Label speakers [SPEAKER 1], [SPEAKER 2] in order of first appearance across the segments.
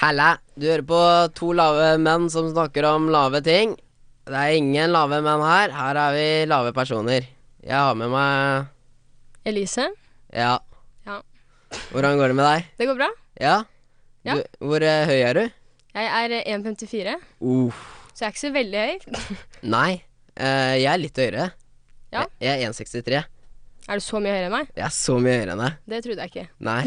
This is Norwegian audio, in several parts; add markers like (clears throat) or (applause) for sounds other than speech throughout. [SPEAKER 1] Halla. Du hører på to lave menn som snakker om lave ting. Det er ingen lave menn her. Her er vi lave personer. Jeg har med meg
[SPEAKER 2] Elise,
[SPEAKER 1] Ja.
[SPEAKER 2] Ja.
[SPEAKER 1] Hvordan går det med deg?
[SPEAKER 2] det går bra.
[SPEAKER 1] Ja?
[SPEAKER 2] Ja.
[SPEAKER 1] Du, hvor eh, høy er du?
[SPEAKER 2] Jeg er eh, 1,54,
[SPEAKER 1] Uh.
[SPEAKER 2] så jeg er ikke så veldig høy.
[SPEAKER 1] Nei. eh, jeg er litt høyere.
[SPEAKER 2] Ja.
[SPEAKER 1] Jeg, jeg er 1,63.
[SPEAKER 2] Er du så mye høyere enn meg?
[SPEAKER 1] Jeg er så mye høyere enn deg.
[SPEAKER 2] Det trodde jeg ikke. (laughs)
[SPEAKER 1] Nei.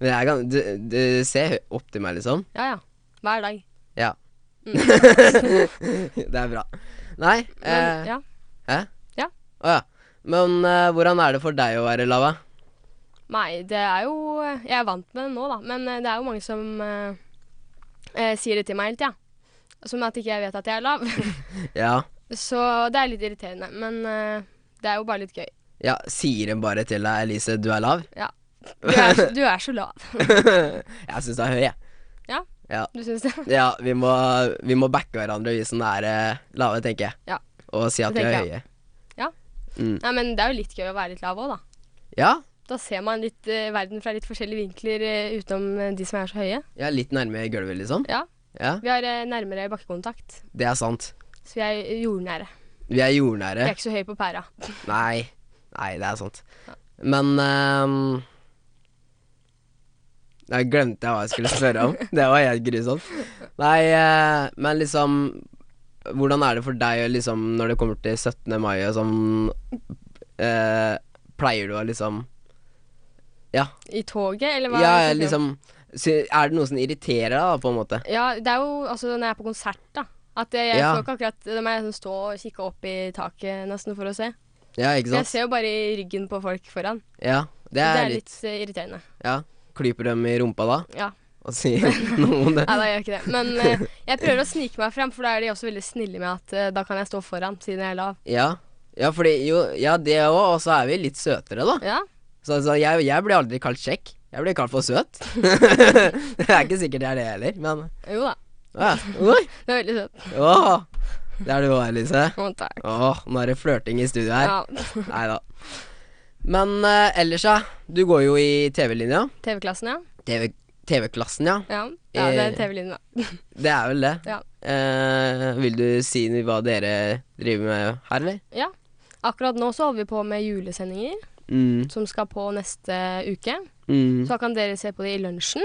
[SPEAKER 1] Men jeg er gan du, du ser hø- opp til meg, liksom.
[SPEAKER 2] Ja ja. Hver dag.
[SPEAKER 1] Ja. (laughs)
[SPEAKER 2] Mm.
[SPEAKER 1] det er bra. Nei.
[SPEAKER 2] Men,
[SPEAKER 1] eh,
[SPEAKER 2] ja.
[SPEAKER 1] Hæ?
[SPEAKER 2] Ja.
[SPEAKER 1] Å ja. Men eh, hvordan er det for deg å være lava?
[SPEAKER 2] Nei, det er jo Jeg er vant med det nå, da. Men eh, det er jo mange som eh, eh, sier det til meg hele tida. Som at ikke jeg vet at jeg er lav. (laughs)
[SPEAKER 1] Ja.
[SPEAKER 2] så det er litt irriterende. Men eh, det er jo bare litt gøy.
[SPEAKER 1] ja sier en bare til deg, Elise, du er
[SPEAKER 2] (laughs)
[SPEAKER 1] lav?
[SPEAKER 2] Du er, du er så lav.
[SPEAKER 1] jeg syns du er høy, jeg.
[SPEAKER 2] Du syns det?
[SPEAKER 1] Ja, vi må, vi må backe hverandre, vi som er eh, lave, tenker jeg.
[SPEAKER 2] Ja.
[SPEAKER 1] Og si at
[SPEAKER 2] Det
[SPEAKER 1] vi er
[SPEAKER 2] tenker
[SPEAKER 1] høye.
[SPEAKER 2] Nei, men det er jo litt gøy å være litt lav òg, da.
[SPEAKER 1] Ja,
[SPEAKER 2] Da ser man litt eh, verden fra litt forskjellige vinkler eh, utenom eh, de som er så høye.
[SPEAKER 1] ja litt nærme gulvet, liksom.
[SPEAKER 2] Ja.
[SPEAKER 1] Ja,
[SPEAKER 2] Vi har eh, nærmere bakkekontakt,
[SPEAKER 1] Det er sant.
[SPEAKER 2] så vi er jordnære.
[SPEAKER 1] Vi er
[SPEAKER 2] Vi
[SPEAKER 1] jordnære.
[SPEAKER 2] er ikke så høye på pæra.
[SPEAKER 1] Nei. Nei, det er sant. Men ehm, Da glemte jeg hva jeg skulle spørre om. Det var helt grusomt. Nei, eh, men liksom Hvordan er det for deg liksom, når det kommer til 17. mai og sånn eh, Pleier du å liksom
[SPEAKER 2] I toget, eller hva?
[SPEAKER 1] Ja,
[SPEAKER 2] er det du snakker om?
[SPEAKER 1] liksom sy- Er det noe som irriterer deg, da, på en måte?
[SPEAKER 2] Ja, det er jo altså når jeg er på konsert, da. At jeg, jeg
[SPEAKER 1] Ja.
[SPEAKER 2] får ikke akkurat Da må jeg sånn stå og kikke opp i taket nesten for å se.
[SPEAKER 1] Ja, ikke
[SPEAKER 2] Jeg
[SPEAKER 1] sant?
[SPEAKER 2] ser jo bare i ryggen på folk foran.
[SPEAKER 1] Ja, det
[SPEAKER 2] Det
[SPEAKER 1] er,
[SPEAKER 2] er
[SPEAKER 1] litt
[SPEAKER 2] litt eh, irriterende.
[SPEAKER 1] Ja. Klyper dem i rumpa da,
[SPEAKER 2] Ja.
[SPEAKER 1] og sier (laughs) noe om det?
[SPEAKER 2] Nei, da gjør jeg ikke det. Men eh,
[SPEAKER 1] (laughs)
[SPEAKER 2] jeg prøver å snike meg frem, for da er de også veldig snille med at eh, da kan jeg stå foran, siden jeg er lav.
[SPEAKER 1] Ja. Ja, fordi jo, ja, det òg, og så er vi litt søtere, da.
[SPEAKER 2] Ja,
[SPEAKER 1] Så, så jeg, jeg blir aldri kalt kjekk. Jeg blir kalt for
[SPEAKER 2] (laughs)
[SPEAKER 1] søt. (laughs) det er ikke sikkert det er det heller, men
[SPEAKER 2] jo da.
[SPEAKER 1] ja. Oi!
[SPEAKER 2] Det er veldig søtt.
[SPEAKER 1] Åh, det er du òg, Elise.
[SPEAKER 2] Å, takk.
[SPEAKER 1] Åh, nå er det flørting i studio her.
[SPEAKER 2] Ja,
[SPEAKER 1] Nei da. Men eh, ellers, ja. Du går jo i TV-linja.
[SPEAKER 2] TV-klassen, ja.
[SPEAKER 1] TV TV-klassen, ja.
[SPEAKER 2] ja. Ja, det
[SPEAKER 1] Eh.
[SPEAKER 2] er TV-linjen, da. (laughs)
[SPEAKER 1] Det er vel det.
[SPEAKER 2] Ja.
[SPEAKER 1] Eh, vil du si hva dere driver med her, eller?
[SPEAKER 2] Ja. Akkurat nå så holder vi på med julesendinger,
[SPEAKER 1] Mm.
[SPEAKER 2] som skal på neste uke.
[SPEAKER 1] Mm.
[SPEAKER 2] Så da kan dere se på det i lunsjen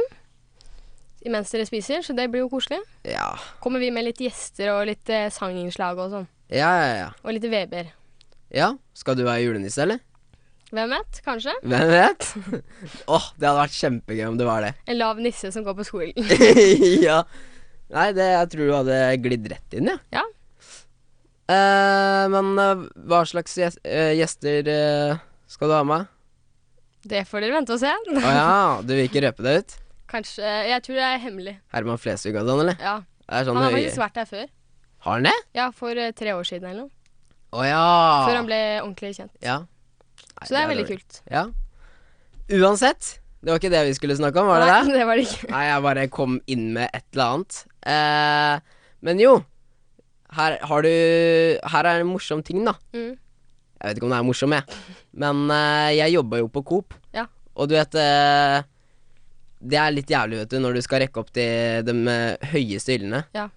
[SPEAKER 2] mens dere spiser, så det blir jo koselig.
[SPEAKER 1] Ja.
[SPEAKER 2] Kommer vi med litt gjester og litt eh, sanginnslag og sånn.
[SPEAKER 1] Ja, ja, ja.
[SPEAKER 2] Og litt VB-er.
[SPEAKER 1] Ja, skal du være julenisse, eller?
[SPEAKER 2] Hvem vet? Kanskje?
[SPEAKER 1] Hvem
[SPEAKER 2] (laughs)
[SPEAKER 1] vet? Åh, det hadde vært kjempegøy om det var det.
[SPEAKER 2] En lav nisse som går på skolen.
[SPEAKER 1] (laughs) ja. Nei, det, jeg tror du hadde glidd rett inn, ja.
[SPEAKER 2] Ja.
[SPEAKER 1] Eh, men eh, hva slags gjes eh, gjester eh, skal du ha med?
[SPEAKER 2] Det får dere vente og se. (laughs)
[SPEAKER 1] Å ja, du vil ikke røpe det ut?
[SPEAKER 2] Kanskje eh, Jeg tror det er hemmelig.
[SPEAKER 1] Herman Flesvig og sånn, eller?
[SPEAKER 2] Ja.
[SPEAKER 1] Det er sånn
[SPEAKER 2] Han har
[SPEAKER 1] høye-
[SPEAKER 2] faktisk vært her før.
[SPEAKER 1] Har han det?
[SPEAKER 2] Ja, for eh, tre år siden eller noe.
[SPEAKER 1] Å ja.
[SPEAKER 2] Før han ble ordentlig kjent.
[SPEAKER 1] Ja. Nei,
[SPEAKER 2] Så det er veldig
[SPEAKER 1] dårlig.
[SPEAKER 2] kult.
[SPEAKER 1] Ah. Ja. Uansett, det var ikke det vi skulle snakke om, var det det?
[SPEAKER 2] Nei, (laughs) det var det ikke.
[SPEAKER 1] Nei, jeg bare kom inn med et eller annet. Eh, men jo, her har du Her er en morsom ting, da.
[SPEAKER 2] Mm.
[SPEAKER 1] Jeg vet ikke om det er morsom, jeg. Men eh, jeg jobba jo på Coop.
[SPEAKER 2] Ja.
[SPEAKER 1] Og du vet eh, Det er litt jævlig, vet du, når du skal rekke opp til de eh, høyeste hyllene.
[SPEAKER 2] Ja.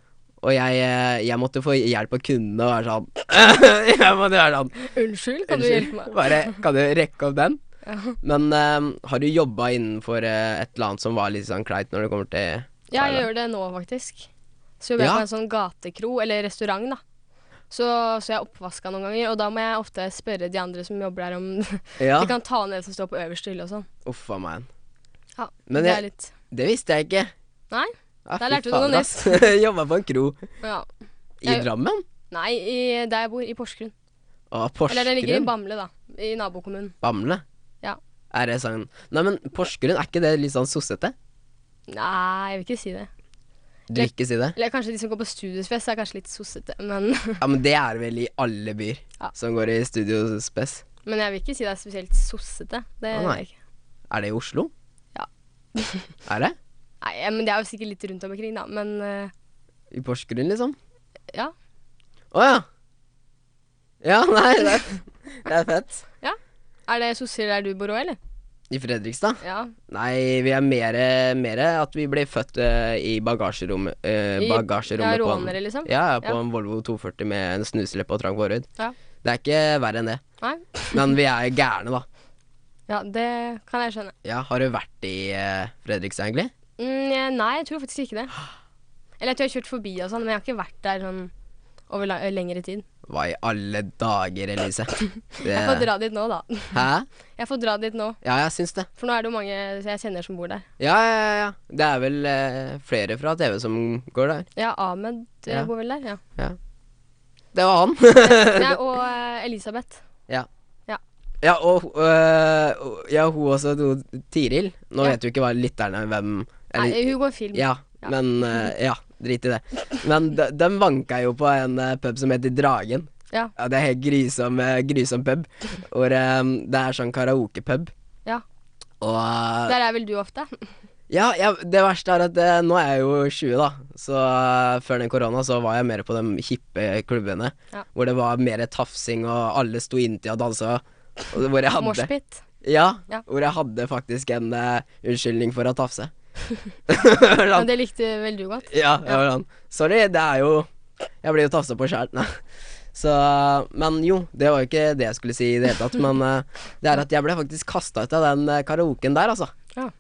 [SPEAKER 1] Og jeg, eh, jeg måtte få hjelp av kundene og være sånn (laughs) Jeg måtte være sånn
[SPEAKER 2] Unnskyld, kan du
[SPEAKER 1] Unnskyld,
[SPEAKER 2] hjelpe meg?
[SPEAKER 1] Bare, kan du rekke opp den?
[SPEAKER 2] Ja.
[SPEAKER 1] Men eh, har du jobba innenfor eh, et eller annet som var litt sånn kleint når det kommer til
[SPEAKER 2] Ja,
[SPEAKER 1] Thailand?
[SPEAKER 2] jeg gjør det nå, faktisk. Så jobber
[SPEAKER 1] Ja.
[SPEAKER 2] jeg på en sånn gatekro, eller restaurant, da. Så, så jeg er oppvaska noen ganger, og da må jeg ofte spørre de andre som jobber der, om (laughs)
[SPEAKER 1] Ja.
[SPEAKER 2] de kan ta ned det som står på øverste hylle og sånn.
[SPEAKER 1] Uff a meg.
[SPEAKER 2] Ja,
[SPEAKER 1] Men
[SPEAKER 2] det
[SPEAKER 1] jeg-
[SPEAKER 2] er litt
[SPEAKER 1] Det visste jeg ikke.
[SPEAKER 2] Nei,
[SPEAKER 1] Ja,
[SPEAKER 2] Der
[SPEAKER 1] fy
[SPEAKER 2] lærte du noe
[SPEAKER 1] fader,
[SPEAKER 2] nytt.
[SPEAKER 1] ass. (laughs) Jobba på en kro.
[SPEAKER 2] ja.
[SPEAKER 1] I
[SPEAKER 2] Jeg-
[SPEAKER 1] Drammen?
[SPEAKER 2] Nei, i, der jeg bor, i Porsgrunn.
[SPEAKER 1] Å,
[SPEAKER 2] Eller det ligger i
[SPEAKER 1] Porsgrunn?
[SPEAKER 2] Bamble, da. I nabokommunen.
[SPEAKER 1] Bamble?
[SPEAKER 2] Ja.
[SPEAKER 1] Er det sånn Nei, men Porsgrunn, er ikke det litt sånn sossete?
[SPEAKER 2] Nei, jeg vil ikke si det.
[SPEAKER 1] Du vil ikke si det?
[SPEAKER 2] Eller kanskje de som går på studiesfest, er kanskje litt sossete, men, (laughs)
[SPEAKER 1] Ja, men det er vel i alle byer
[SPEAKER 2] Ja.
[SPEAKER 1] som går i Studio Spes.
[SPEAKER 2] men jeg vil ikke si det er spesielt sossete. Det
[SPEAKER 1] Å,
[SPEAKER 2] gjør
[SPEAKER 1] nei.
[SPEAKER 2] jeg ikke.
[SPEAKER 1] Er det i Oslo?
[SPEAKER 2] Ja.
[SPEAKER 1] (laughs) er det?
[SPEAKER 2] Nei, men det er jo sikkert litt rundt omkring, da. Men eh,
[SPEAKER 1] I Porsgrunn, liksom?
[SPEAKER 2] ja.
[SPEAKER 1] Å ja.
[SPEAKER 2] (laughs)
[SPEAKER 1] Ja, nei, det er, det er fett.
[SPEAKER 2] Er det sosser der du bor òg, eller?
[SPEAKER 1] I Fredrikstad?
[SPEAKER 2] Ja.
[SPEAKER 1] Nei, vi er mer, mer at vi ble født eh, i bagasjerommet, eh,
[SPEAKER 2] I-
[SPEAKER 1] bagasjerommet
[SPEAKER 2] ja,
[SPEAKER 1] på en-
[SPEAKER 2] rånere, liksom?
[SPEAKER 1] Ja, ja, på
[SPEAKER 2] Ja.
[SPEAKER 1] en Volvo 240 med en snuseleppe og trang forhud.
[SPEAKER 2] Ja.
[SPEAKER 1] Det er ikke verre enn det.
[SPEAKER 2] Nei.
[SPEAKER 1] Men vi er gærne, da.
[SPEAKER 2] Ja, det kan jeg skjønne.
[SPEAKER 1] Ja, har du vært i eh, Fredrikstad, egentlig?
[SPEAKER 2] Mm, nei, jeg tror faktisk ikke det. Eller jeg tror jeg har kjørt forbi og sånn, men jeg har ikke vært der sånn over la eh, lengre tid.
[SPEAKER 1] Hva i alle dager,
[SPEAKER 2] (laughs)
[SPEAKER 1] Elise?
[SPEAKER 2] Jeg får dra dit nå, da. (laughs)
[SPEAKER 1] Hæ?
[SPEAKER 2] Jeg får dra dit nå,
[SPEAKER 1] Ja, jeg syns det.
[SPEAKER 2] for nå er det jo mange jeg kjenner som bor der.
[SPEAKER 1] Ja, ja, ja. ja. Det er vel eh, flere fra TV som går der.
[SPEAKER 2] Ja, Ahmed eh,
[SPEAKER 1] Ja.
[SPEAKER 2] bor vel der.
[SPEAKER 1] (laughs)
[SPEAKER 2] Ja.
[SPEAKER 1] Det var han. (laughs)
[SPEAKER 2] ja og eh, Elisabeth.
[SPEAKER 1] ja.
[SPEAKER 2] Ja.
[SPEAKER 1] Ja, og øh, ja, hun også, hun, Tiril. Nå
[SPEAKER 2] Ja.
[SPEAKER 1] vet jo ikke hva lytterne hvem eller-
[SPEAKER 2] Nei, hun går film.
[SPEAKER 1] Ja,
[SPEAKER 2] Ja.
[SPEAKER 1] men øh, Ja, drit i det. Men de, de vanka jo på en øh, pub som heter Dragen.
[SPEAKER 2] Ja.
[SPEAKER 1] Ja, Det er helt grusom, øh, grusom pub. Hvor øh, det er sånn karaokepub.
[SPEAKER 2] Ja.
[SPEAKER 1] Og øh,
[SPEAKER 2] Der er vel du ofte?
[SPEAKER 1] Ja, ja, det verste er at eh, nå er jeg jo 20, da. Så eh, før den korona så var jeg mer på de hippe klubbene.
[SPEAKER 2] Ja.
[SPEAKER 1] Hvor det var mer tafsing, og alle sto inntil og dansa. og Hvor jeg hadde
[SPEAKER 2] Moshpit.
[SPEAKER 1] ja,
[SPEAKER 2] Ja.
[SPEAKER 1] Hvor jeg hadde faktisk en eh, unnskyldning for å tafse.
[SPEAKER 2] Men
[SPEAKER 1] Hvordan-
[SPEAKER 2] det likte vel du godt?
[SPEAKER 1] ja, ja. hvordan? Sorry, det er jo Jeg blir jo tafsa på sjæl. Nei. Så Men jo, det var jo ikke det jeg skulle si i det hele tatt. Men eh, det er at jeg ble faktisk kasta ut av den eh, karaoken der, altså.
[SPEAKER 2] Ja.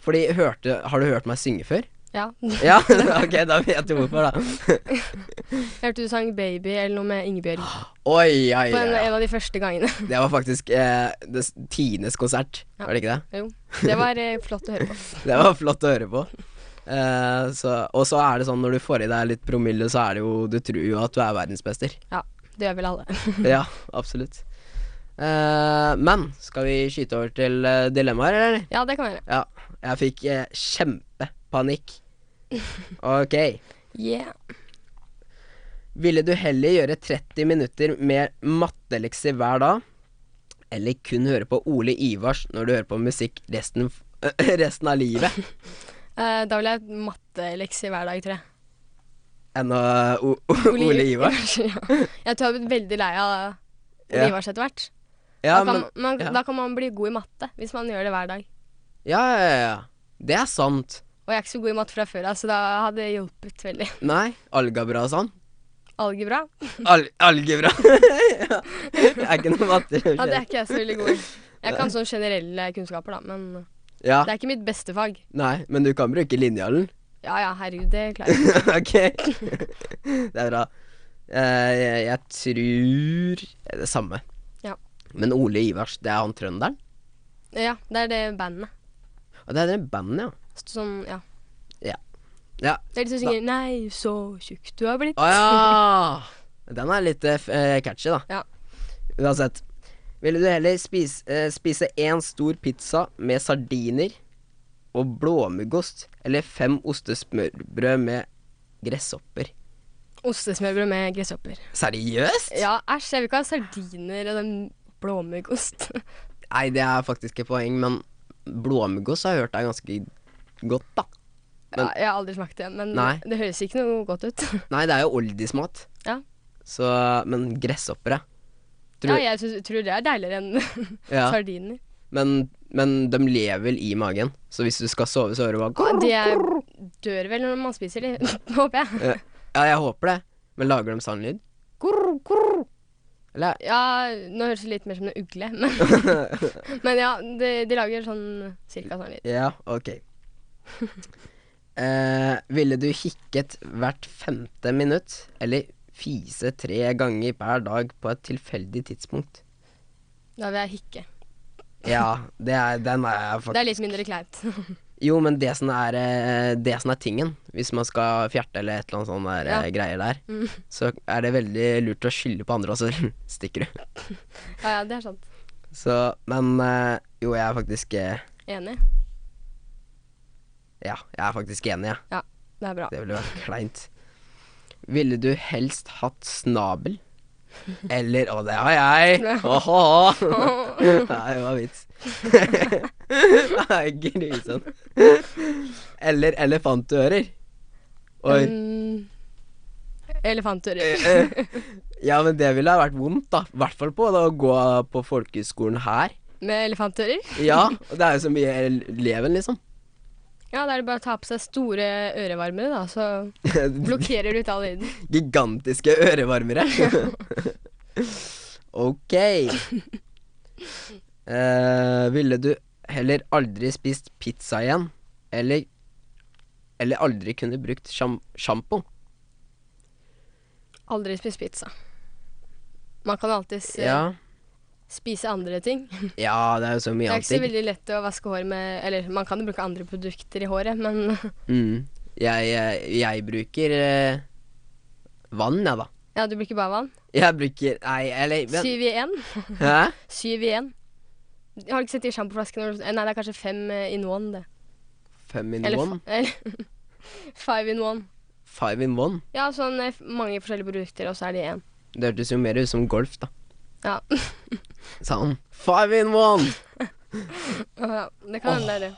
[SPEAKER 1] Fordi hørte Har du hørt meg synge før? (laughs)
[SPEAKER 2] Ja.
[SPEAKER 1] Ja, ok, da vet du hvorfor, da.
[SPEAKER 2] (laughs) Hørte du sang 'Baby' eller noe med Ingebjørg
[SPEAKER 1] Oi, oi,
[SPEAKER 2] på en,
[SPEAKER 1] oi.
[SPEAKER 2] en av de første gangene? (laughs)
[SPEAKER 1] Det var faktisk eh, det s- Tines konsert, var det ikke det?
[SPEAKER 2] Jo. Det var eh, flott å høre på.
[SPEAKER 1] (laughs) Det var flott å høre på. Eh, så, og så er det sånn når du får i deg litt promille, så er det jo Du tror jo at du er verdensmester.
[SPEAKER 2] Ja, det gjør vel alle. (laughs)
[SPEAKER 1] Ja, absolutt. Eh, men skal vi skyte over til eh, dilemmaer, eller?
[SPEAKER 2] Ja, det kan være.
[SPEAKER 1] Ja. Jeg fikk eh, kjempepanikk. Ok.
[SPEAKER 2] Yeah.
[SPEAKER 1] Ville du heller gjøre 30 minutter med mattelekser hver dag, eller kun høre på Ole Ivars når du hører på musikk resten, (laughs) resten av livet,
[SPEAKER 2] Eh, da vil jeg ha mattelekser hver dag, tror
[SPEAKER 1] (laughs)
[SPEAKER 2] jeg.
[SPEAKER 1] enn å o, o, Ole Ivars?
[SPEAKER 2] (laughs) ja. Jeg tror jeg har blitt veldig lei av Ole
[SPEAKER 1] Ja.
[SPEAKER 2] Ivars etter hvert.
[SPEAKER 1] Ja,
[SPEAKER 2] da, kan,
[SPEAKER 1] men,
[SPEAKER 2] man,
[SPEAKER 1] ja.
[SPEAKER 2] da kan man bli god i matte, hvis man gjør det hver dag.
[SPEAKER 1] ja, ja, ja, ja. Det er sant.
[SPEAKER 2] Og jeg er ikke så god i matte fra før av, så da hadde det hjulpet veldig. (laughs)
[SPEAKER 1] Nei, algebra og sånn.
[SPEAKER 2] Algebra?
[SPEAKER 1] Al algebra. (laughs) ja. Det er ikke noe matte.
[SPEAKER 2] Ja, det er ikke jeg så veldig
[SPEAKER 1] (laughs)
[SPEAKER 2] god i. Jeg kan sånn generelle kunnskaper, da, men
[SPEAKER 1] Ja,
[SPEAKER 2] det er ikke mitt beste fag.
[SPEAKER 1] nei, men du kan bruke linjalen. (laughs)
[SPEAKER 2] Ja ja, herregud, det klarer jeg.
[SPEAKER 1] ok. det er bra. Eh, jeg, jeg tror det er det samme.
[SPEAKER 2] Ja.
[SPEAKER 1] Men Ole Ivars, det er han trønderen?
[SPEAKER 2] Ja, det er det bandet.
[SPEAKER 1] Og det er det bandet, ja.
[SPEAKER 2] Sånn, ja.
[SPEAKER 1] Ja.
[SPEAKER 2] Det er de som synger 'Nei, så tjukk du har blitt'.
[SPEAKER 1] Å
[SPEAKER 2] (laughs)
[SPEAKER 1] ja! Den er litt eh, f- eh, catchy, da.
[SPEAKER 2] Ja.
[SPEAKER 1] Uansett. Ville du heller spise, eh, spise én stor pizza med sardiner og blåmuggost, eller fem ostesmørbrød med gresshopper?
[SPEAKER 2] Ostesmørbrød med gresshopper.
[SPEAKER 1] Seriøst?
[SPEAKER 2] Ja, æsj, jeg vil ikke ha sardiner og den blåmuggost.
[SPEAKER 1] Nei, det er faktisk et poeng, men blåmuggost har jeg hørt er ganske godt, da. Men-
[SPEAKER 2] Ja, jeg har aldri smakt det, men
[SPEAKER 1] Nei.
[SPEAKER 2] det høres ikke noe godt ut.
[SPEAKER 1] Nei, det er jo oldismat.
[SPEAKER 2] (laughs) Ja.
[SPEAKER 1] Så, men gresshoppere
[SPEAKER 2] Ja,
[SPEAKER 1] tror,
[SPEAKER 2] jeg synes, tror det er deiligere enn (laughs)
[SPEAKER 1] Ja.
[SPEAKER 2] sardiner.
[SPEAKER 1] men, men de lever vel i magen, så hvis du skal sove, så hører du
[SPEAKER 2] Ja,
[SPEAKER 1] bare
[SPEAKER 2] De er, dør vel når man spiser de, (laughs) håper jeg.
[SPEAKER 1] Ja, Eh, Ja, jeg håper det. Men lager de sånn lyd? Kurr, kurr. Eller
[SPEAKER 2] Ja, nå høres det litt mer som en ugle, (laughs)
[SPEAKER 1] (laughs)
[SPEAKER 2] men, men ja, de, de lager sånn cirka sånn lyd.
[SPEAKER 1] Ja, ok. Eh, ville du hikket hvert femte minutt, eller fise tre ganger hver dag på et tilfeldig tidspunkt?
[SPEAKER 2] Da vil jeg hikke.
[SPEAKER 1] Ja, det er, den er jeg faktisk
[SPEAKER 2] Det er litt mindre kleint. (laughs)
[SPEAKER 1] Jo, men det som er, eh, det som er tingen, hvis man skal fjerte eller et eller annet sånn der, eh,
[SPEAKER 2] Ja.
[SPEAKER 1] greier der,
[SPEAKER 2] Mm.
[SPEAKER 1] så er det veldig lurt å skylde på andre, og så (laughs) stikker du.
[SPEAKER 2] Ja, ja, det er sant.
[SPEAKER 1] Så, men eh, jo, jeg er faktisk eh,
[SPEAKER 2] Enig.
[SPEAKER 1] Ja, jeg er faktisk enig, jeg.
[SPEAKER 2] Ja, det er bra.
[SPEAKER 1] Det ville vært kleint. Ville du helst hatt snabel? Eller Å, det har jeg! Åhå! Nei, det var vits. (laughs) Nei, grusomt. Eller elefantører. Oi.
[SPEAKER 2] Um, elefantører.
[SPEAKER 1] Eh, Ja, men det ville ha vært vondt, da. I hvert fall på da, å gå på folkehøyskolen her.
[SPEAKER 2] (laughs) med elefantører.
[SPEAKER 1] Ja, og det er jo så mye leven, liksom.
[SPEAKER 2] Ja, da er det bare å ta på seg store ørevarmere, da, så blokkerer du ut all lyden.
[SPEAKER 1] Gigantiske ørevarmere. ok. Eh, ville du heller aldri spist pizza igjen, eller, eller aldri kunne brukt sjam sjampo?
[SPEAKER 2] Aldri spist pizza. Man kan alltids eh,
[SPEAKER 1] Ja.
[SPEAKER 2] spise andre ting.
[SPEAKER 1] ja, det er jo så
[SPEAKER 2] Det
[SPEAKER 1] mye
[SPEAKER 2] er ikke så
[SPEAKER 1] annet.
[SPEAKER 2] veldig lett å vaske hår med Eller man kan jo bruke andre produkter i håret, men (laughs)
[SPEAKER 1] Mm. Jeg, eh, jeg bruker eh, vann, jeg, da.
[SPEAKER 2] ja, du bruker bare vann.
[SPEAKER 1] Jeg bruker Nei, eller men,
[SPEAKER 2] Syv i én.
[SPEAKER 1] Hæ?
[SPEAKER 2] (laughs) Syv i én. Har du ikke sett de sjampoflaskene? hvor- eh, Nei, det er kanskje fem eh, in one, det.
[SPEAKER 1] Fem in
[SPEAKER 2] Eller,
[SPEAKER 1] one?
[SPEAKER 2] f- (laughs) eller five in one.
[SPEAKER 1] Five in one?
[SPEAKER 2] Ja, sånn eh, f- mange forskjellige produkter, og så er de én.
[SPEAKER 1] Det hørtes jo mer ut som golf, da.
[SPEAKER 2] Ja. (laughs)
[SPEAKER 1] Sa han. Five in one!
[SPEAKER 2] Ja, Det kan hende det er det.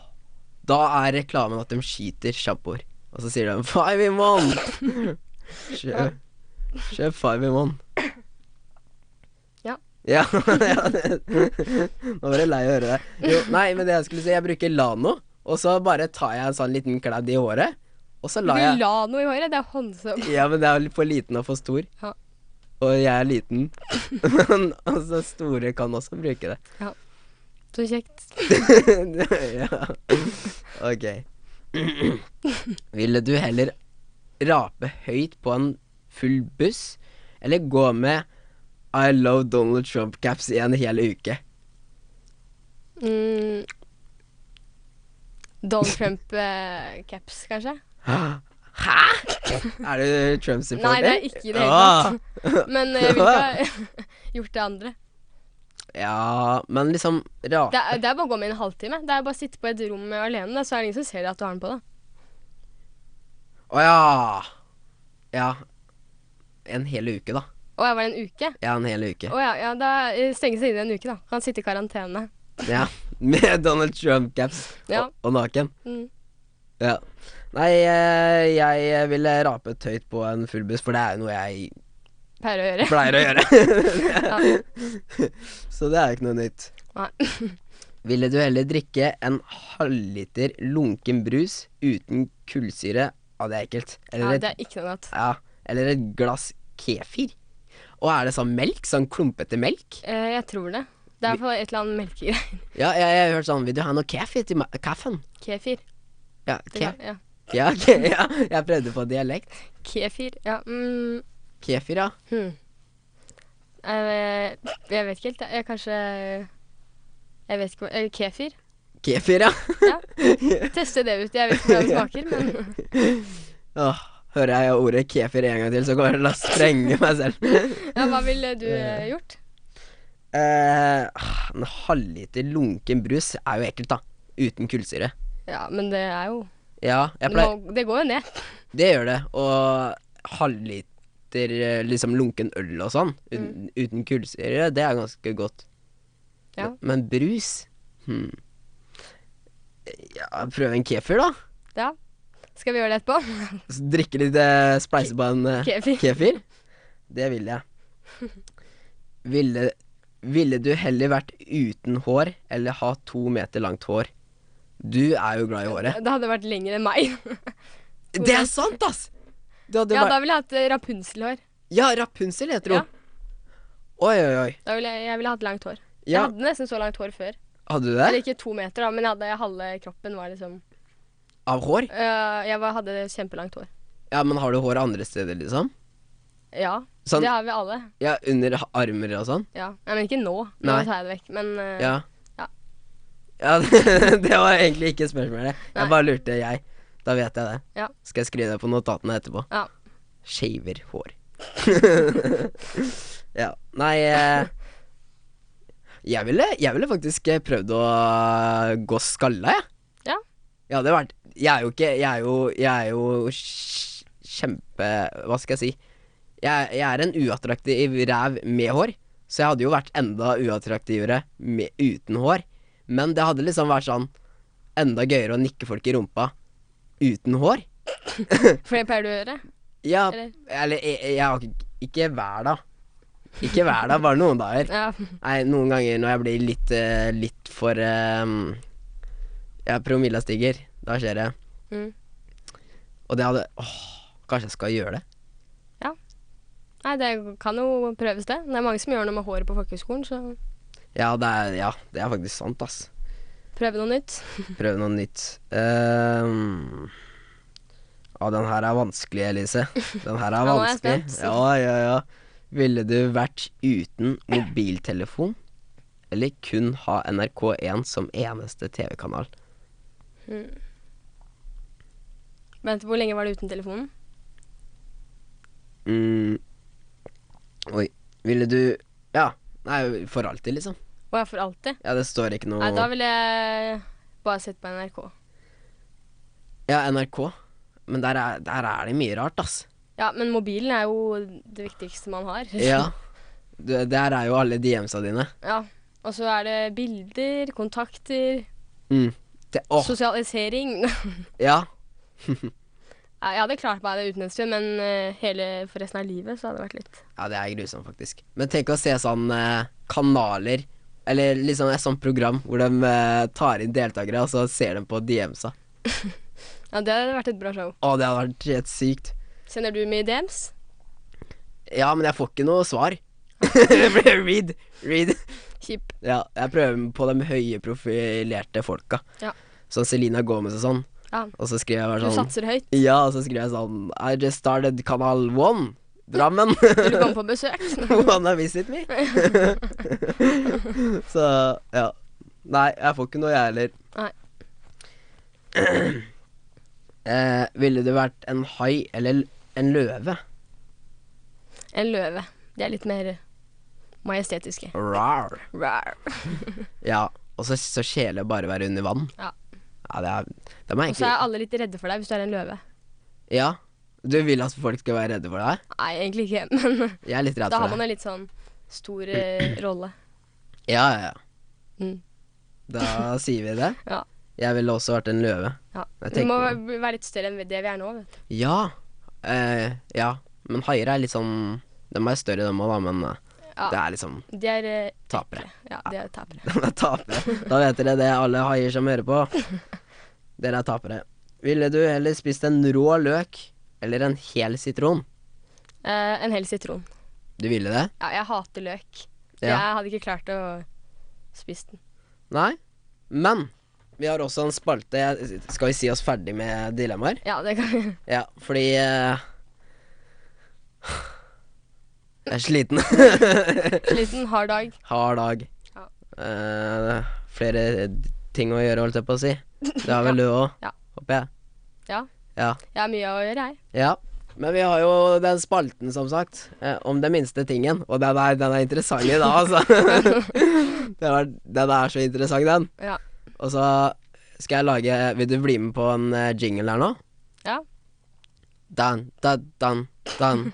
[SPEAKER 1] Da er reklamen at de skyter sjampoer. Og så sier de 'five in one'. Kjøp, kjøp five in one.
[SPEAKER 2] Ja.
[SPEAKER 1] Ja, (laughs) ja, det- Nå var jeg lei av å høre det. Jo, nei, men det jeg skulle si, jeg bruker Lano, og så bare tar jeg en sånn liten kladd i håret, og så lar
[SPEAKER 2] Du
[SPEAKER 1] jeg
[SPEAKER 2] la noe i håret. Det er håndsopp.
[SPEAKER 1] Ja, men det er litt for liten og for stor.
[SPEAKER 2] Ja.
[SPEAKER 1] Og jeg er liten. (laughs) Men altså, store kan også bruke det.
[SPEAKER 2] Så kjekt.
[SPEAKER 1] (laughs) ja. Ok. (clears throat) Ville du heller rape høyt på en full buss, eller gå med I love Donald Trump-caps i en hel uke? (gasps)
[SPEAKER 2] Mm. Donald Trump-caps, kanskje?
[SPEAKER 1] Hæ?! Er du Ah, Trump-supporter?
[SPEAKER 2] Nei, det er ikke i det hele tatt. Men eh, jeg ville
[SPEAKER 1] (laughs)
[SPEAKER 2] ikke ha (laughs) gjort det andre.
[SPEAKER 1] Ja, men liksom rape
[SPEAKER 2] Det er, det er bare å gå med i en halvtime. Det er bare å sitte på et rom alene, da, så er det ingen som ser at du har den på deg.
[SPEAKER 1] Å ja. Ja. En hel uke, da.
[SPEAKER 2] Å, jeg var det en uke?
[SPEAKER 1] Ja, en hel uke.
[SPEAKER 2] Å ja, ja, da eh, stenges det inne en uke, da. Kan sitte i karantene.
[SPEAKER 1] Ja, (laughs) Med Donald Trump-caps
[SPEAKER 2] Ja.
[SPEAKER 1] og, og naken.
[SPEAKER 2] Mm.
[SPEAKER 1] Ja. Nei, eh, jeg ville rapet høyt på en full buss, for det er jo noe jeg
[SPEAKER 2] Pleier å
[SPEAKER 1] (laughs)
[SPEAKER 2] gjøre.
[SPEAKER 1] pleier å gjøre. Så det er jo ikke noe nytt.
[SPEAKER 2] Nei.
[SPEAKER 1] Ville du heller drikke en halvliter lunken brus uten kullsyre? Ja, det er ekkelt.
[SPEAKER 2] Ja,
[SPEAKER 1] Eller et,
[SPEAKER 2] det er ikke noe godt.
[SPEAKER 1] ja, eller et glass kefir? Og er det sånn melk? Sånn klumpete melk?
[SPEAKER 2] Eh, jeg tror det. Det er i hvert fall et eller annet melkegreier.
[SPEAKER 1] Ja, jeg, jeg har hørt sånn Vil du ha noe kefir til ma- kaffen?
[SPEAKER 2] Kefir.
[SPEAKER 1] Ja,
[SPEAKER 2] Det
[SPEAKER 1] ke
[SPEAKER 2] kan- Ja.
[SPEAKER 1] ja, (laughs) ke ja, jeg prøvde på dialekt.
[SPEAKER 2] Kefir. Ja. Mm.
[SPEAKER 1] Kefir, ja.
[SPEAKER 2] Hmm. Eh, jeg vet ikke helt. Jeg kanskje Jeg vet ikke hva eh, Kefir? (laughs)
[SPEAKER 1] Kefir, ja.
[SPEAKER 2] Teste det ut. Jeg vet ikke hvordan det smaker, men (laughs)
[SPEAKER 1] Åh, hører jeg ordet kefir en gang til, så kommer jeg til å sprenge meg selv.
[SPEAKER 2] ja, Hva ville du eh, gjort?
[SPEAKER 1] Eh, en halvliter lunken brus er jo ekkelt, da. Uten kullsyre.
[SPEAKER 2] Ja, men det er jo
[SPEAKER 1] Ja, jeg
[SPEAKER 2] det,
[SPEAKER 1] pleier,
[SPEAKER 2] må, det går jo ned.
[SPEAKER 1] det gjør det. Og halvliter eh, liksom lunken øl og sånn, uten, uten kullsyre, det er ganske godt.
[SPEAKER 2] Ja.
[SPEAKER 1] Men brus hmm. Ja, prøve en kefir, da.
[SPEAKER 2] Ja. Skal vi gjøre det etterpå? (laughs)
[SPEAKER 1] Så drikke litt eh, Spleise på en eh,
[SPEAKER 2] Kefir.
[SPEAKER 1] kefir. Det vil jeg.
[SPEAKER 2] (laughs)
[SPEAKER 1] Ville, ville du heller vært uten hår eller ha to meter langt hår? Du er jo glad i håret.
[SPEAKER 2] Det hadde vært lenger enn meg.
[SPEAKER 1] Det er sant, ass! Du hadde
[SPEAKER 2] Ja,
[SPEAKER 1] vært
[SPEAKER 2] da ville jeg hatt eh, rapunselhår.
[SPEAKER 1] Ja, Rapunzel heter hun. Oi, oi, oi.
[SPEAKER 2] Da ville jeg, jeg ville hatt langt hår. Jeg
[SPEAKER 1] Ja,
[SPEAKER 2] hadde nesten så langt hår før.
[SPEAKER 1] hadde du
[SPEAKER 2] Eller
[SPEAKER 1] det?
[SPEAKER 2] ikke to meter, da, men jeg hadde halve kroppen var liksom
[SPEAKER 1] Av hår?
[SPEAKER 2] Eh, Jeg var, hadde kjempelangt hår.
[SPEAKER 1] Ja, men har du hår andre steder, liksom?
[SPEAKER 2] Ja.
[SPEAKER 1] Sånn-
[SPEAKER 2] Det har vi alle.
[SPEAKER 1] Ja, under ha- armer og sånn?
[SPEAKER 2] Ja. Nei, men ikke nå. Nå
[SPEAKER 1] Nei.
[SPEAKER 2] tar jeg det vekk. Men eh,
[SPEAKER 1] Ja.
[SPEAKER 2] Ja.
[SPEAKER 1] Ja, (laughs) det, det var egentlig ikke spørsmålet.
[SPEAKER 2] Nei.
[SPEAKER 1] Jeg bare lurte, jeg. Da vet jeg det.
[SPEAKER 2] Ja.
[SPEAKER 1] Skal jeg skrive det på notatene etterpå.
[SPEAKER 2] Ja.
[SPEAKER 1] Shaver hår. ja. Nei eh, jeg ville, jeg ville faktisk eh, prøvd å gå skalla, jeg.
[SPEAKER 2] Ja.
[SPEAKER 1] Jeg hadde vært Jeg er jo ikke Jeg er jo, jeg er jo kj- kjempe Hva skal jeg si? Jeg, jeg er en uattraktiv ræv med hår, så jeg hadde jo vært enda uattraktivere med, uten hår. Men det hadde liksom vært sånn enda gøyere å nikke folk i rumpa uten hår.
[SPEAKER 2] For det pleier du å gjøre?
[SPEAKER 1] Ja, eh,
[SPEAKER 2] Eller?
[SPEAKER 1] eller jeg, jeg har ikke- ikke hver dag, Ikke hver dag, bare noen dager.
[SPEAKER 2] Ja.
[SPEAKER 1] Nei, noen ganger når jeg blir litt, eh, litt for eh, Ja, promilla stiger. Da skjer det.
[SPEAKER 2] Mm.
[SPEAKER 1] Og det hadde Åh, kanskje jeg skal gjøre det?
[SPEAKER 2] Nei, det kan jo prøves, det. Det er mange som gjør noe med håret på folkehøgskolen, så
[SPEAKER 1] Ja, det er, ja, det er faktisk sant, ass.
[SPEAKER 2] prøve noe nytt.
[SPEAKER 1] Prøve noe nytt. Ehm, ja, den her er vanskelig, Elise. Den her er
[SPEAKER 2] Ja, (laughs) nå er jeg
[SPEAKER 1] vanskelig.
[SPEAKER 2] spent.
[SPEAKER 1] Ja, ja, ja. Ville du vært uten mobiltelefon, eller kun ha NRK1 som eneste TV-kanal?
[SPEAKER 2] Vent, hvor lenge var du uten telefonen?
[SPEAKER 1] Mm. Oi. Ville du Ja. Nei, for alltid, liksom.
[SPEAKER 2] Å ja, for alltid?
[SPEAKER 1] Ja, det står ikke noe
[SPEAKER 2] Nei, da ville jeg bare sett på NRK.
[SPEAKER 1] Ja, NRK. Men der er, der er det mye rart,
[SPEAKER 2] (laughs)
[SPEAKER 1] ass.
[SPEAKER 2] Ja, men mobilen er jo det viktigste man har. (laughs)
[SPEAKER 1] Ja. Du, der er jo alle DM-sa dine.
[SPEAKER 2] Ja. Og så er det bilder, kontakter,
[SPEAKER 1] Mm. Det, åh,
[SPEAKER 2] sosialisering. (laughs)
[SPEAKER 1] ja.
[SPEAKER 2] Ja, Jeg hadde klart meg det uten en stund, men eh, hele for resten av livet så hadde det vært litt
[SPEAKER 1] Ja, det er grusomt, faktisk. Men tenk å se sånn eh, kanaler, eller liksom et sånt program hvor de eh, tar inn deltakere, og så ser de på DM-sa.
[SPEAKER 2] Ja, det hadde vært et bra show.
[SPEAKER 1] Å, det hadde vært helt sykt.
[SPEAKER 2] Sender du mye DMs?
[SPEAKER 1] Ja, men jeg får ikke noe svar. (laughs) det blir read. Read.
[SPEAKER 2] Kjip.
[SPEAKER 1] Ja, jeg prøver på de høye profilerte folka.
[SPEAKER 2] Ja.
[SPEAKER 1] Sånn Selena Gomez og sånn.
[SPEAKER 2] Ja.
[SPEAKER 1] Og så skriver jeg
[SPEAKER 2] Du
[SPEAKER 1] bare sånn
[SPEAKER 2] satser høyt.
[SPEAKER 1] Ja, og så skriver jeg sånn I just started Kanal 1. Drammen. (laughs)
[SPEAKER 2] Vil du komme på besøk?
[SPEAKER 1] Wanna visit
[SPEAKER 2] (laughs)
[SPEAKER 1] me? så ja. Nei, jeg får ikke noe, jeg heller.
[SPEAKER 2] Nei.
[SPEAKER 1] eh, ville du vært en hai eller en løve?
[SPEAKER 2] En løve. De er litt mer majestetiske.
[SPEAKER 1] Rar.
[SPEAKER 2] Rar.
[SPEAKER 1] Ja, og så, så kjeler bare å være under vann.
[SPEAKER 2] Ja.
[SPEAKER 1] ja det er, de er
[SPEAKER 2] Og så
[SPEAKER 1] egentlig
[SPEAKER 2] er alle litt redde for deg hvis du er en løve.
[SPEAKER 1] Ja. Du vil at folk skal være redde for deg?
[SPEAKER 2] Nei, egentlig ikke, (laughs) men
[SPEAKER 1] Jeg er litt redd
[SPEAKER 2] da har
[SPEAKER 1] for
[SPEAKER 2] man
[SPEAKER 1] deg.
[SPEAKER 2] en litt sånn stor eh, rolle.
[SPEAKER 1] Ja, ja, ja.
[SPEAKER 2] Mm.
[SPEAKER 1] Da (laughs) sier vi det.
[SPEAKER 2] Ja.
[SPEAKER 1] Jeg ville også vært en løve.
[SPEAKER 2] Ja.
[SPEAKER 1] Jeg
[SPEAKER 2] Du må
[SPEAKER 1] tenker
[SPEAKER 2] v- være litt større enn det vi er nå, vet du.
[SPEAKER 1] Ja. Eh, ja. Men haier er litt sånn De er større, de òg, da, men eh,
[SPEAKER 2] Ja.
[SPEAKER 1] det er liksom
[SPEAKER 2] De er eh,
[SPEAKER 1] tapere.
[SPEAKER 2] Ja, de er tapere.
[SPEAKER 1] De er tapere. Da vet dere det, alle haier som hører på. Dere er tapere. Ville du heller spist en rå løk eller en hel sitron?
[SPEAKER 2] Eh, en hel sitron.
[SPEAKER 1] Du ville det?
[SPEAKER 2] Ja, jeg hater løk.
[SPEAKER 1] Ja.
[SPEAKER 2] Jeg hadde ikke klart å spise den.
[SPEAKER 1] Nei? Men vi har også en spalte Jeg- Skal vi si oss ferdig med dilemmaer?
[SPEAKER 2] Ja, det kan (laughs) vi.
[SPEAKER 1] Ja, fordi eh, Jeg er sliten. (laughs)
[SPEAKER 2] Sliten, hard dag.
[SPEAKER 1] Hard dag.
[SPEAKER 2] Ja.
[SPEAKER 1] Eh, flere ting å gjøre, holdt jeg på å si. Det har vel du òg,
[SPEAKER 2] Ja.
[SPEAKER 1] håper jeg.
[SPEAKER 2] Ja.
[SPEAKER 1] Ja.
[SPEAKER 2] Jeg har mye å gjøre, jeg.
[SPEAKER 1] Ja. Men vi har jo den spalten, som sagt, eh, om den minste tingen. Og den er, den er interessant i dag, altså. (laughs) den, er, den er så interessant, den.
[SPEAKER 2] Ja.
[SPEAKER 1] Og så skal jeg lage Vil du bli med på en eh, jingle her nå?
[SPEAKER 2] ja.
[SPEAKER 1] Dan, da, dan, dan,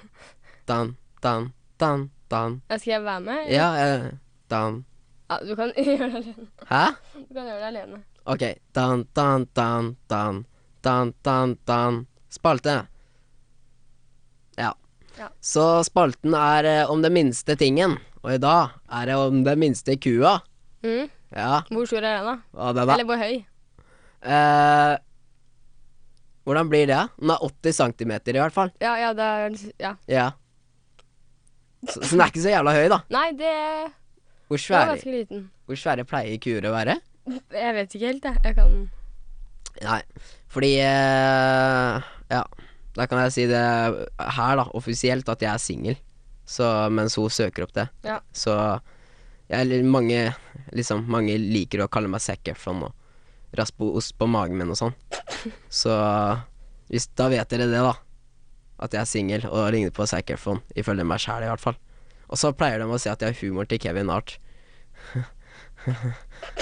[SPEAKER 1] dan, dan, dan, dan.
[SPEAKER 2] Jeg skal jeg være med?
[SPEAKER 1] Ja, eh, dan
[SPEAKER 2] ja du, kan (laughs) gjøre det alene.
[SPEAKER 1] Hæ?
[SPEAKER 2] du kan gjøre det alene.
[SPEAKER 1] Ok. Dan, dan, dan, dan, dan, dan, dan. Spalte. Ja.
[SPEAKER 2] Ja.
[SPEAKER 1] Så spalten er eh, om den minste tingen, og i dag er det om den minste kua.
[SPEAKER 2] Mm.
[SPEAKER 1] Ja,
[SPEAKER 2] Hvor stor er den, da?
[SPEAKER 1] hva det da?
[SPEAKER 2] Eller hvor høy?
[SPEAKER 1] Eh, hvordan blir det? Den er 80 cm i hvert fall.
[SPEAKER 2] Ja, ja, det er ja.
[SPEAKER 1] Ja. Så, så den er ikke så jævla høy, da.
[SPEAKER 2] Nei, det
[SPEAKER 1] Hvor
[SPEAKER 2] den var
[SPEAKER 1] svære,
[SPEAKER 2] ganske liten.
[SPEAKER 1] hvor svære pleier kuer å være?
[SPEAKER 2] Jeg vet ikke helt, jeg. Jeg kan
[SPEAKER 1] Nei, fordi eh, Ja, da kan jeg si det her, da, offisielt, at jeg er singel. Så- Mens hun søker opp det.
[SPEAKER 2] Ja.
[SPEAKER 1] Så jeg, eller mange, liksom, mange liker å kalle meg Zac Efron og raspe ost på magen min og sånn. Så hvis, da vet dere det, da. At jeg er singel og ligner på Zac Efron, ifølge meg sjæl i hvert fall. Og så pleier de å si at jeg har humoren til Kevin Hart. (laughs)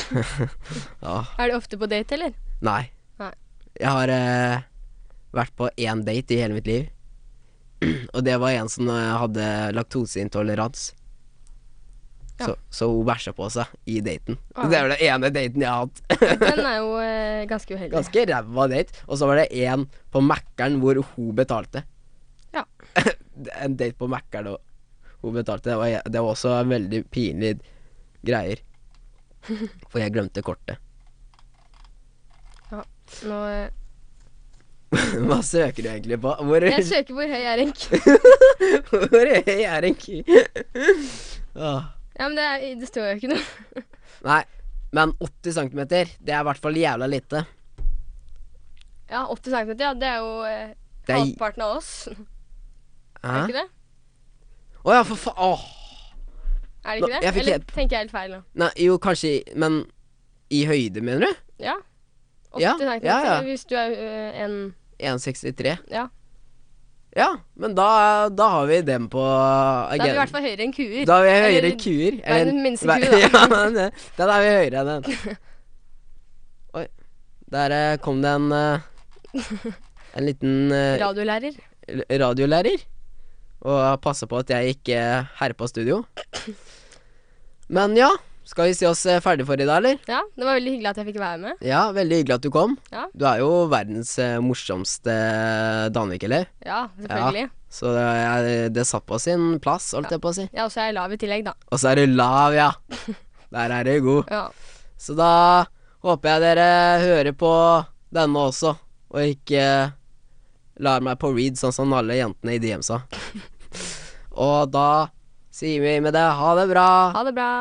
[SPEAKER 1] ja,
[SPEAKER 2] Er du ofte på date,
[SPEAKER 1] (laughs)
[SPEAKER 2] eller?
[SPEAKER 1] Nei.
[SPEAKER 2] Nei.
[SPEAKER 1] Jeg har eh, vært på én date i hele mitt liv. (clears throat) Og det var en som eh, hadde laktoseintolerans.
[SPEAKER 2] Ja.
[SPEAKER 1] Så, så hun bæsja på seg i daten.
[SPEAKER 2] Ah.
[SPEAKER 1] Det er vel den ene daten jeg har hatt. (laughs)
[SPEAKER 2] Den er jo eh, ganske uheldig.
[SPEAKER 1] Ganske ræva date. Og så var det en (laughs) på Mækkern hvor hun betalte.
[SPEAKER 2] Ja.
[SPEAKER 1] en date på Mækkern og hun betalte. Det var, jeg- det var også en veldig pinlig greier.
[SPEAKER 2] (laughs)
[SPEAKER 1] For jeg glemte kortet. (clears throat)
[SPEAKER 2] Nå, eh,
[SPEAKER 1] Hva søker du egentlig på? Hvor,
[SPEAKER 2] jeg søker hvor høy
[SPEAKER 1] (laughs)
[SPEAKER 2] er en ku.
[SPEAKER 1] hvor høy er en ku? (laughs) Åh.
[SPEAKER 2] Ja, men det, er, det står jo ikke noe. (laughs)
[SPEAKER 1] Nei, men 80 cm, det er i hvert fall jævla lite.
[SPEAKER 2] Ja, 80 cm, ja. Det er jo eh,
[SPEAKER 1] Det er
[SPEAKER 2] halvparten av oss. (laughs) Er det
[SPEAKER 1] Hæ?
[SPEAKER 2] ikke det?
[SPEAKER 1] Å ja, for faen. Åh.
[SPEAKER 2] Er det
[SPEAKER 1] Nå,
[SPEAKER 2] ikke det?
[SPEAKER 1] jeg fikk
[SPEAKER 2] Eller
[SPEAKER 1] helt-
[SPEAKER 2] tenker jeg helt feil nå?
[SPEAKER 1] Nei, jo, kanskje i- Men i høyde, mener du?
[SPEAKER 2] Ja. 80
[SPEAKER 1] Ja,
[SPEAKER 2] cm
[SPEAKER 1] ja, ja.
[SPEAKER 2] hvis du er eh, en
[SPEAKER 1] 1,63?
[SPEAKER 2] Ja.
[SPEAKER 1] Ja, men da, da har vi dem på
[SPEAKER 2] Da er vi i hvert
[SPEAKER 1] agendaen.
[SPEAKER 2] fall høyere enn kuer.
[SPEAKER 1] Da har vi høyere
[SPEAKER 2] Eller-
[SPEAKER 1] kuer.
[SPEAKER 2] Verdens minste
[SPEAKER 1] Ver- (laughs)
[SPEAKER 2] ku, da.
[SPEAKER 1] ja, men det- den er vi høyere enn den.
[SPEAKER 2] (laughs)
[SPEAKER 1] Oi. Der eh, kom det en eh, En liten eh,
[SPEAKER 2] Radiolærer.
[SPEAKER 1] l- radiolærer og passa på at jeg ikke eh, herpa studio. Men ja, skal vi si oss eh, ferdig for i dag, eller?
[SPEAKER 2] Ja, det var veldig hyggelig at jeg fikk være med.
[SPEAKER 1] Ja, veldig hyggelig at du kom.
[SPEAKER 2] Ja.
[SPEAKER 1] Du er jo verdens eh, morsomste eh, Danvik-elev,
[SPEAKER 2] Ja, selvfølgelig.
[SPEAKER 1] så det, er- det satt på sin plass, holdt jeg på å si.
[SPEAKER 2] Ja, og så er jeg lav i tillegg, da.
[SPEAKER 1] Og så er du lav, ja. Der er du god.
[SPEAKER 2] Ja.
[SPEAKER 1] Så da håper jeg dere hører på denne også, og ikke lar meg på read sånn som alle jentene i DM sa. og da sier vi med det ha det bra.
[SPEAKER 2] Ha det bra.